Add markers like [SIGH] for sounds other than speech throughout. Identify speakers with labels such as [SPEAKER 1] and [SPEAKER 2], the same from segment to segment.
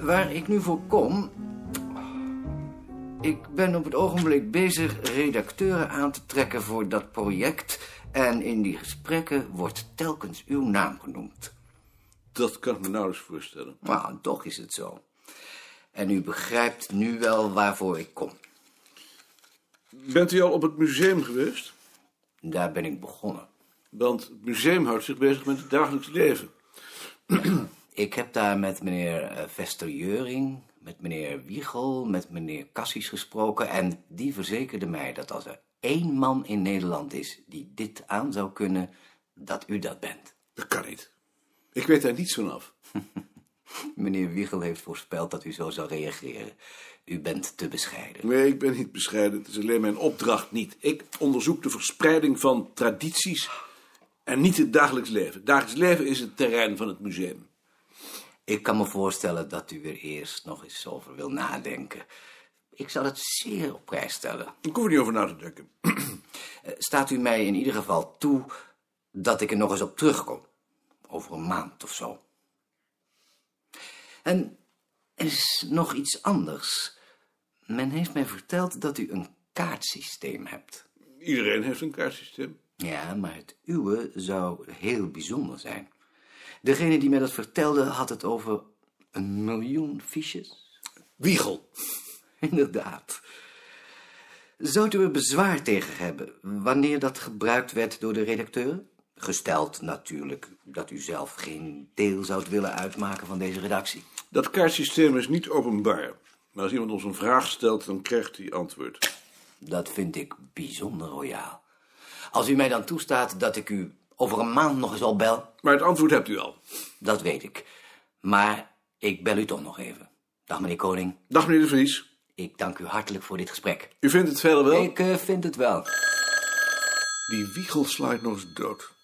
[SPEAKER 1] waar ik nu voor kom... Ik ben op het ogenblik bezig redacteuren aan te trekken voor dat project... en in die gesprekken wordt telkens uw naam genoemd.
[SPEAKER 2] Dat kan ik me nauwelijks voorstellen.
[SPEAKER 1] Maar toch is het zo. En u begrijpt nu wel waarvoor ik kom.
[SPEAKER 2] Bent u al op het museum geweest?
[SPEAKER 1] Daar ben ik begonnen.
[SPEAKER 2] Want het museum houdt zich bezig met het dagelijks leven.
[SPEAKER 1] Ik heb daar met meneer Vester-Jeuring, met meneer Wiegel, met meneer Cassis gesproken... en die verzekerde mij dat als er één man in Nederland is die dit aan zou kunnen... dat u dat bent.
[SPEAKER 2] Dat kan niet. Ik weet daar niets van af.
[SPEAKER 1] Meneer Wiegel heeft voorspeld dat u zo zou reageren. U bent te bescheiden.
[SPEAKER 2] Nee, ik ben niet bescheiden. Het is alleen mijn opdracht niet. Ik onderzoek de verspreiding van tradities en niet het dagelijks leven. Het dagelijks leven is het terrein van het museum.
[SPEAKER 1] Ik kan me voorstellen dat u er eerst nog eens over wil nadenken. Ik zal het zeer op prijs stellen.
[SPEAKER 2] Ik hoef er niet over na te denken.
[SPEAKER 1] Eh, Staat u mij in ieder geval toe dat ik er nog eens op terugkom? Over een maand of zo. En er is nog iets anders. Men heeft mij verteld dat u een kaartsysteem hebt.
[SPEAKER 2] Iedereen heeft een kaartsysteem.
[SPEAKER 1] Ja, maar het uwe zou heel bijzonder zijn. Degene die mij dat vertelde had het over een miljoen fiches.
[SPEAKER 2] Wiegel.
[SPEAKER 1] [LAUGHS] Inderdaad. Zou u er bezwaar tegen hebben wanneer dat gebruikt werd door de redacteur? Gesteld natuurlijk dat u zelf geen deel zou willen uitmaken van deze redactie.
[SPEAKER 2] Dat kaartsysteem is niet openbaar. Maar als iemand ons een vraag stelt, dan krijgt hij antwoord.
[SPEAKER 1] Dat vind ik bijzonder royaal. Als u mij dan toestaat dat ik u over een maand nog eens opbel,
[SPEAKER 2] Maar het antwoord hebt u al.
[SPEAKER 1] dat weet ik. Maar ik bel u toch nog even. Dag meneer Koning,
[SPEAKER 2] Dag meneer de Vries.
[SPEAKER 1] ik dank u hartelijk voor dit gesprek.
[SPEAKER 2] U vindt het verder wel?
[SPEAKER 1] Ik eh, vind het wel.
[SPEAKER 2] Die wiegel slaat nog eens dood.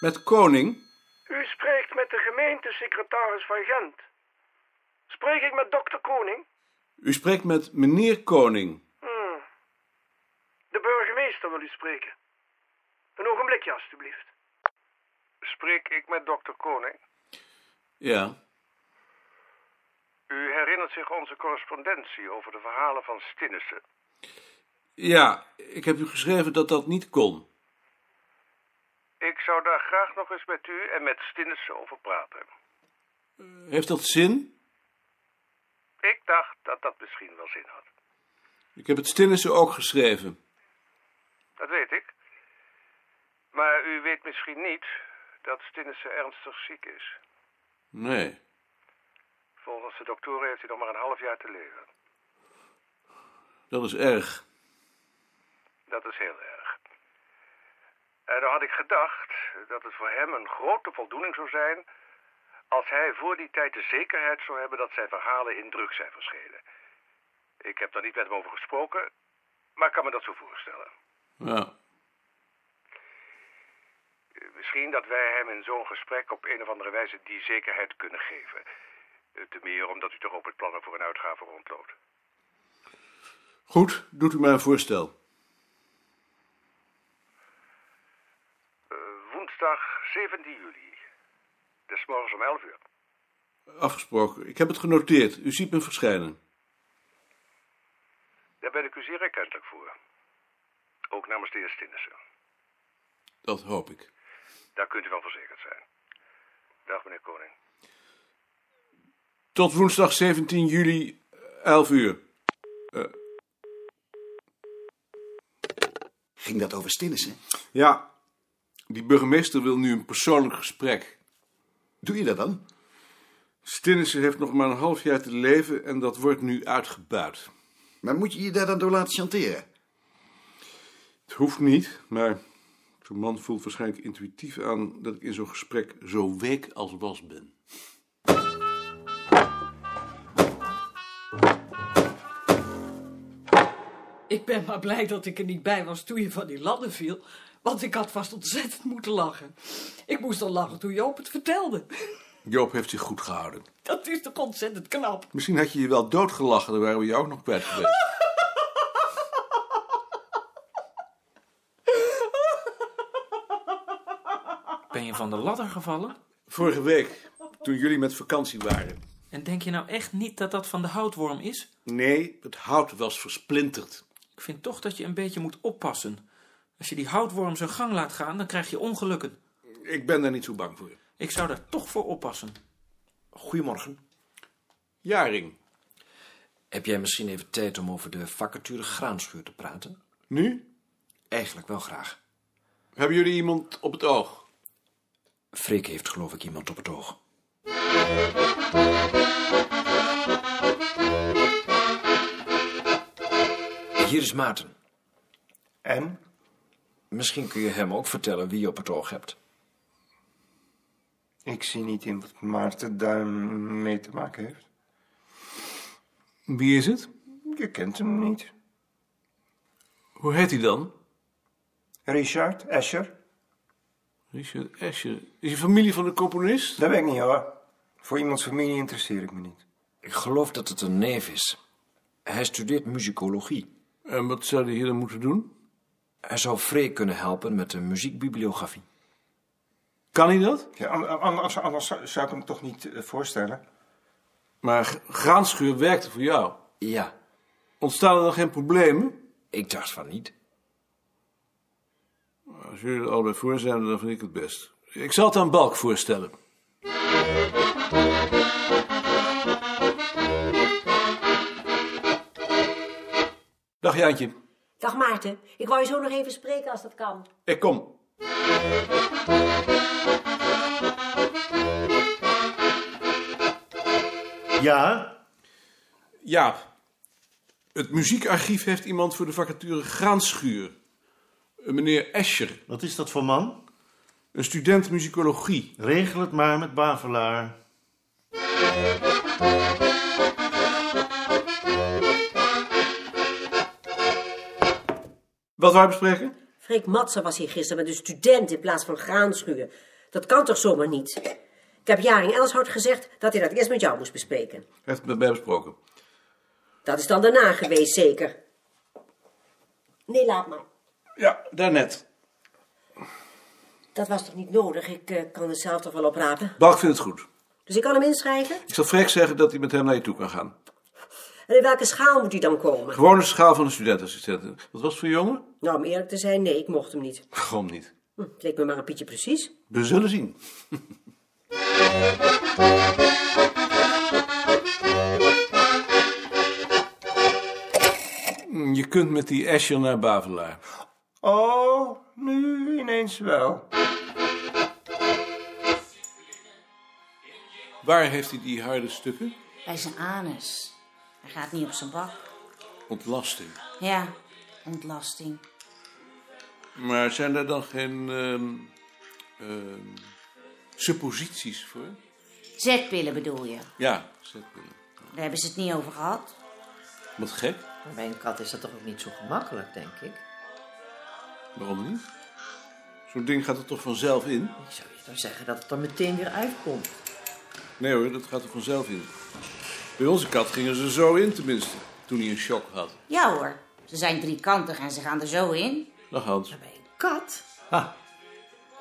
[SPEAKER 2] Met koning?
[SPEAKER 3] U spreekt met de gemeentesecretaris van Gent. Spreek ik met dokter Koning?
[SPEAKER 2] U spreekt met meneer koning.
[SPEAKER 3] De burgemeester wil u spreken. Een ogenblikje, alstublieft. Spreek ik met dokter Koning?
[SPEAKER 2] Ja.
[SPEAKER 3] U herinnert zich onze correspondentie over de verhalen van Stinnissen.
[SPEAKER 2] Ja, ik heb u geschreven dat dat niet kon.
[SPEAKER 3] Ik zou daar graag nog eens met u en met Stinnissen over praten.
[SPEAKER 2] Heeft dat zin?
[SPEAKER 3] Ik dacht dat dat misschien wel zin had.
[SPEAKER 2] Ik heb het Stinnissen ook geschreven.
[SPEAKER 3] Dat weet ik. Maar u weet misschien niet dat Stinnissen ernstig ziek is.
[SPEAKER 2] Nee.
[SPEAKER 3] Volgens de doktoren heeft hij nog maar een half jaar te leven.
[SPEAKER 2] Dat is erg.
[SPEAKER 3] Dat is heel erg. En dan had ik gedacht dat het voor hem een grote voldoening zou zijn... als hij voor die tijd de zekerheid zou hebben dat zijn verhalen in druk zijn verschenen. Ik heb daar niet met hem over gesproken, maar ik kan me dat zo voorstellen.
[SPEAKER 2] Ja.
[SPEAKER 3] Eh, Misschien dat wij hem in zo'n gesprek op een of andere wijze die zekerheid kunnen geven. Eh, Te meer omdat u toch ook met plannen voor een uitgave rondloopt.
[SPEAKER 2] Goed, doet u mij een voorstel.
[SPEAKER 3] Eh, Woensdag 17 juli. Des morgens om 11 uur.
[SPEAKER 2] Afgesproken. Ik heb het genoteerd. U ziet me verschijnen.
[SPEAKER 3] Daar ben ik u zeer erkentelijk voor. Ook namens de heer Stinnissen.
[SPEAKER 2] Dat hoop ik.
[SPEAKER 3] Daar kunt u van verzekerd zijn. Dag, meneer Koning.
[SPEAKER 2] Tot woensdag 17 juli, 11 uur.
[SPEAKER 4] Ging dat over Stinnissen?
[SPEAKER 2] Ja. Die burgemeester wil nu een persoonlijk gesprek.
[SPEAKER 4] Doe je dat dan?
[SPEAKER 2] Stinnissen heeft nog maar een half jaar te leven en dat wordt nu uitgebuit.
[SPEAKER 4] Maar moet je je daar dan door laten chanteren?
[SPEAKER 2] Het hoeft niet, maar zo'n man voelt waarschijnlijk intuïtief aan dat ik in zo'n gesprek zo week als was ben.
[SPEAKER 5] Ik ben maar blij dat ik er niet bij was toen je van die ladder viel. Want ik had vast ontzettend moeten lachen. Ik moest al lachen toen Joop het vertelde. [LAUGHS]
[SPEAKER 2] Joop heeft zich goed gehouden.
[SPEAKER 5] Dat is toch ontzettend knap.
[SPEAKER 2] Misschien had je je wel doodgelachen, dan waren we je ook nog kwijt geweest.
[SPEAKER 6] Ben je van de ladder gevallen?
[SPEAKER 2] Vorige week, toen jullie met vakantie waren.
[SPEAKER 6] En denk je nou echt niet dat dat van de houtworm is?
[SPEAKER 2] Nee, het hout was versplinterd.
[SPEAKER 6] Ik vind toch dat je een beetje moet oppassen. Als je die houtworm zijn gang laat gaan, dan krijg je ongelukken.
[SPEAKER 2] Ik ben daar niet zo bang voor.
[SPEAKER 6] Ik zou daar toch voor oppassen.
[SPEAKER 2] Goedemorgen. Jaring.
[SPEAKER 7] Heb jij misschien even tijd om over de vacature graanschuur te praten?
[SPEAKER 2] Nu?
[SPEAKER 7] Eigenlijk wel graag.
[SPEAKER 2] Hebben jullie iemand op het oog?
[SPEAKER 7] Freek heeft geloof ik iemand op het oog. Hier is Maarten.
[SPEAKER 2] En?
[SPEAKER 7] Misschien kun je hem ook vertellen wie je op het oog hebt.
[SPEAKER 8] Ik zie niet in wat Maarten daar mee te maken heeft.
[SPEAKER 2] Wie is het?
[SPEAKER 8] Je kent hem niet.
[SPEAKER 2] Hoe heet hij dan?
[SPEAKER 8] Richard Escher?
[SPEAKER 2] Richard Escher. Is hij familie van de componist?
[SPEAKER 8] Dat weet ik niet hoor. Voor iemands familie interesseer ik me niet.
[SPEAKER 7] Ik geloof dat het een neef is. Hij studeert muzikologie.
[SPEAKER 2] En wat zou hij hier dan moeten doen?
[SPEAKER 7] Hij zou Freek kunnen helpen met de muziekbibliografie.
[SPEAKER 2] Kan hij dat?
[SPEAKER 8] Ja, an- an- anders, anders zou- zou ik hem toch niet eh, voorstellen.
[SPEAKER 2] Maar G- graanschuur werkte voor jou.
[SPEAKER 7] Ja,
[SPEAKER 2] Ontstaan er dan geen problemen?
[SPEAKER 7] ik dacht van niet.
[SPEAKER 2] Als jullie er allebei voor zijn, dan vind ik het best. Ik zal het aan Balk voorstellen. Dag Jaantje.
[SPEAKER 9] Dag Maarten, ik wou je zo nog even spreken als dat kan.
[SPEAKER 2] Ik kom.
[SPEAKER 10] Ja?
[SPEAKER 2] Ja. Het muziekarchief heeft iemand voor de vacature graanschuur. Een meneer Escher,
[SPEAKER 10] Wat is dat voor man?
[SPEAKER 2] een student muzikologie.
[SPEAKER 10] Regel het maar met Bavelaar.
[SPEAKER 2] Wat wij bespreken?
[SPEAKER 9] Freek Matsen was hier gisteren met een student in plaats van graanschuur. Dat kan toch zomaar niet? Ik heb Jaring Elshout gezegd dat hij dat eerst met jou moest bespreken.
[SPEAKER 2] Heeft het met mij besproken.
[SPEAKER 9] Dat is dan daarna geweest, zeker. Nee, laat maar.
[SPEAKER 2] Ja, daarnet.
[SPEAKER 9] Dat was toch niet nodig? Ik eh, kan het zelf toch wel oprapen.
[SPEAKER 2] Balk vindt het goed.
[SPEAKER 9] Dus ik kan hem inschrijven?
[SPEAKER 2] Ik zal Freek zeggen dat hij met hem naar je toe kan gaan.
[SPEAKER 9] En in welke schaal moet hij dan komen?
[SPEAKER 2] Gewone schaal van de studentassistenten. Wat was het voor jongen?
[SPEAKER 9] Nou, om eerlijk te zijn, nee, ik mocht hem niet.
[SPEAKER 2] Gewoon niet.
[SPEAKER 9] Hm, het leek me maar een pietje precies.
[SPEAKER 2] We zullen zien. Je kunt met die Escher naar Bavelaar.
[SPEAKER 8] Oh, nu ineens wel.
[SPEAKER 2] Waar heeft hij die harde stukken?
[SPEAKER 11] Bij zijn anus. Hij gaat niet op zijn bak.
[SPEAKER 2] Ontlasting.
[SPEAKER 11] Ja, ontlasting.
[SPEAKER 2] Maar zijn daar dan geen ehm, ehm, supposities voor?
[SPEAKER 11] Zetpillen bedoel je?
[SPEAKER 2] Ja, zetpillen.
[SPEAKER 11] Daar hebben ze het niet over gehad.
[SPEAKER 2] Wat gek.
[SPEAKER 12] Maar bij een kat is dat toch ook niet zo gemakkelijk, denk ik?
[SPEAKER 2] Waarom niet? Zo'n ding gaat er toch vanzelf in?
[SPEAKER 12] Ik zou je dan zeggen dat het er meteen weer uitkomt.
[SPEAKER 2] Nee hoor, dat gaat er vanzelf in. Bij onze kat gingen ze zo in tenminste, toen hij een shock had.
[SPEAKER 11] Ja hoor, ze zijn driekantig en ze gaan er zo in.
[SPEAKER 2] Dag Hans.
[SPEAKER 12] Kat?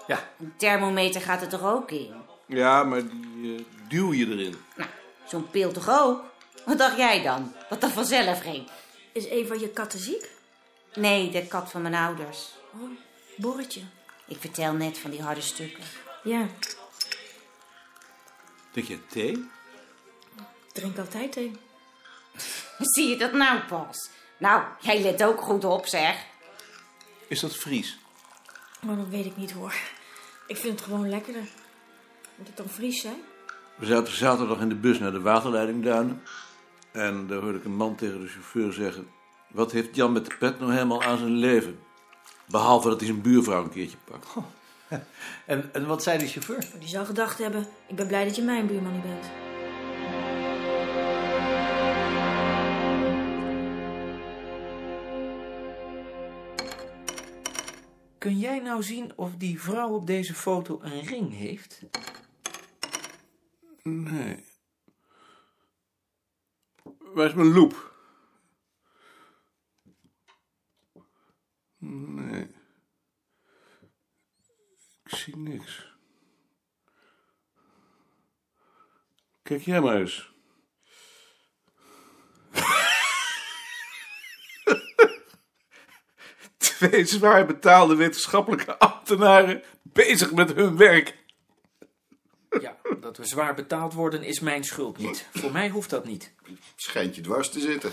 [SPEAKER 11] Een thermometer gaat er toch ook in?
[SPEAKER 2] Ja, maar die eh, duw je erin.
[SPEAKER 11] Nou, zo'n pil toch ook? Wat dacht jij dan? Dat dat vanzelf ging?
[SPEAKER 9] Is een van je katten ziek? Oh,
[SPEAKER 11] Nee, de kat van mijn ouders.
[SPEAKER 9] Borretje.
[SPEAKER 11] Ik vertel net van die harde stukken.
[SPEAKER 9] Ja,
[SPEAKER 2] Drink je thee?
[SPEAKER 9] drink altijd thee.
[SPEAKER 11] [LAUGHS] Zie je dat nou pas? Nou, jij let ook goed op, zeg.
[SPEAKER 2] Is dat Fries?
[SPEAKER 9] Maar dat weet ik niet hoor. Ik vind het gewoon lekkerder. Moet het dan Fries zijn?
[SPEAKER 2] We zaten zaterdag in de bus naar de waterleidingduinen. En daar hoorde ik een man tegen de chauffeur zeggen... Wat heeft Jan met de pet nou helemaal aan zijn leven? Behalve dat hij zijn buurvrouw een keertje pakt.
[SPEAKER 10] En, en wat zei de chauffeur?
[SPEAKER 9] Die zou gedacht hebben, ik ben blij dat je mijn buurman niet bent.
[SPEAKER 6] Kun jij nou zien of die vrouw op deze foto een ring heeft?
[SPEAKER 2] Nee. Waar is mijn loep? Nee. Ik zie niks. Kijk jij maar eens. [LAUGHS] twee zwaar betaalde wetenschappelijke ambtenaren bezig met hun werk.
[SPEAKER 6] Ja, dat we zwaar betaald worden is mijn schuld niet. Voor mij hoeft dat niet.
[SPEAKER 4] Schijnt je dwars te zitten.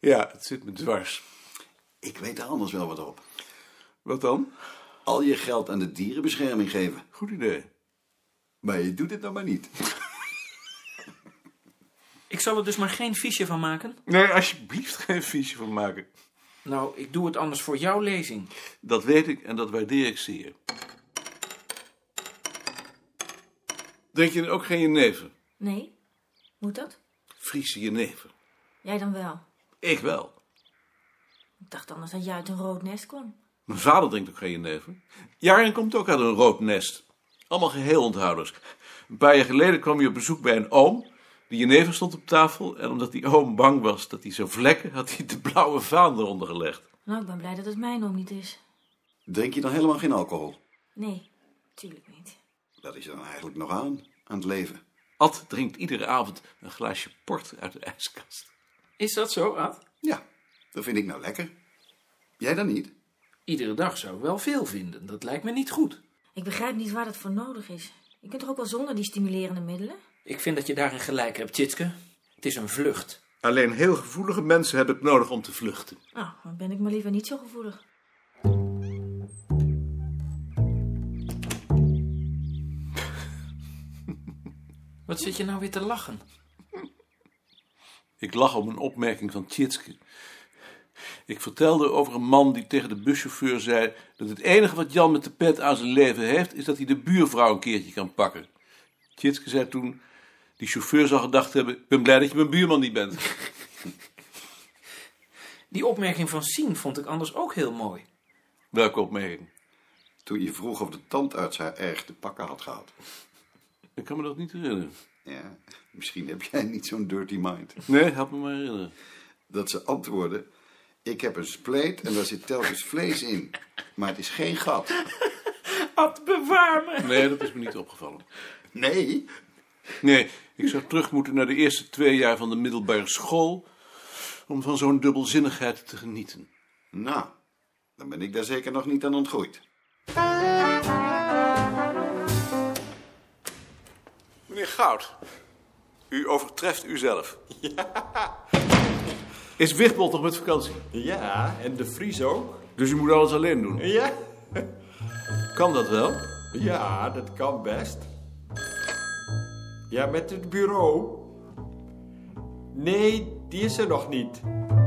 [SPEAKER 2] Ja, het zit me dwars.
[SPEAKER 4] Ik weet daar anders wel wat op.
[SPEAKER 2] Wat dan?
[SPEAKER 4] Al je geld aan de dierenbescherming geven.
[SPEAKER 2] Goed idee.
[SPEAKER 4] Maar je doet het nou maar niet.
[SPEAKER 6] Ik zal er dus maar geen fiche van maken.
[SPEAKER 2] Nee, alsjeblieft geen fiche van maken.
[SPEAKER 6] Nou, ik doe het anders voor jouw lezing.
[SPEAKER 2] Dat weet ik en dat waardeer ik zeer. Drink je ook geen jenever?
[SPEAKER 9] Nee? Moet dat?
[SPEAKER 2] Friese jenever.
[SPEAKER 9] Jij dan wel.
[SPEAKER 2] Ik wel.
[SPEAKER 9] Ik dacht anders dat jij uit een rood nest kwam.
[SPEAKER 2] Mijn vader drinkt ook geen jenever. Jaren komt ook uit een rood nest. Allemaal geheel onthouders. Een paar jaar geleden kwam hij op bezoek bij een oom. De jenever stond op tafel en omdat die oom bang was dat hij zou vlekken, had hij de blauwe vaan eronder gelegd.
[SPEAKER 9] Nou, ik ben blij dat het mijn oom niet is.
[SPEAKER 4] Drink je dan helemaal geen alcohol?
[SPEAKER 9] Nee, tuurlijk niet.
[SPEAKER 4] Dat is dan eigenlijk nog aan, aan het leven.
[SPEAKER 2] Ad drinkt iedere avond een glaasje port uit de ijskast.
[SPEAKER 6] Is dat zo, Ad?
[SPEAKER 4] Ja, dat vind ik nou lekker. Jij dan niet?
[SPEAKER 6] Iedere dag zou ik wel veel vinden. Dat lijkt me niet goed.
[SPEAKER 9] Ik begrijp niet waar dat voor nodig is. Je kunt toch ook wel zonder die stimulerende middelen?
[SPEAKER 6] Ik vind dat je daarin gelijk hebt, Tjitske. Het is een vlucht.
[SPEAKER 2] Alleen heel gevoelige mensen hebben het nodig om te vluchten.
[SPEAKER 9] Nou, dan ben ik maar liever niet zo gevoelig.
[SPEAKER 6] Wat zit je nou weer te lachen?
[SPEAKER 2] Ik lach om een opmerking van Tjitske. Ik vertelde over een man die tegen de buschauffeur zei dat het enige wat Jan met de pet aan zijn leven heeft, is dat hij de buurvrouw een keertje kan pakken. Tjitske zei toen, die chauffeur zal gedacht hebben, ik ben blij dat je mijn buurman niet bent. [LAUGHS]
[SPEAKER 6] Die opmerking van Sien vond ik anders ook heel mooi.
[SPEAKER 2] Welke opmerking?
[SPEAKER 4] Toen je vroeg of de tandarts haar erg te pakken had gehad.
[SPEAKER 2] Ik kan me dat niet herinneren.
[SPEAKER 4] Ja, misschien heb jij niet zo'n dirty mind.
[SPEAKER 2] Nee, help me maar herinneren.
[SPEAKER 4] Dat ze antwoordde, ik heb een spleet en daar zit telkens vlees in. Maar het is geen gat.
[SPEAKER 6] Ad, bewaar me.
[SPEAKER 2] Nee, dat is me niet opgevallen.
[SPEAKER 4] Nee?
[SPEAKER 2] Nee, ik zou terug moeten naar de eerste twee jaar van de middelbare school... om van zo'n dubbelzinnigheid te genieten.
[SPEAKER 4] Nou, dan ben ik daar zeker nog niet aan ontgroeid.
[SPEAKER 2] Meneer Goud, u overtreft [LAUGHS] uzelf. Is Wichtbold nog met vakantie?
[SPEAKER 13] Ja, en de Vries ook.
[SPEAKER 2] Dus u moet alles alleen doen?
[SPEAKER 13] Ja.
[SPEAKER 2] Kan dat wel?
[SPEAKER 13] Ja, dat kan best. Ja, met het bureau. Nee, die is er nog niet.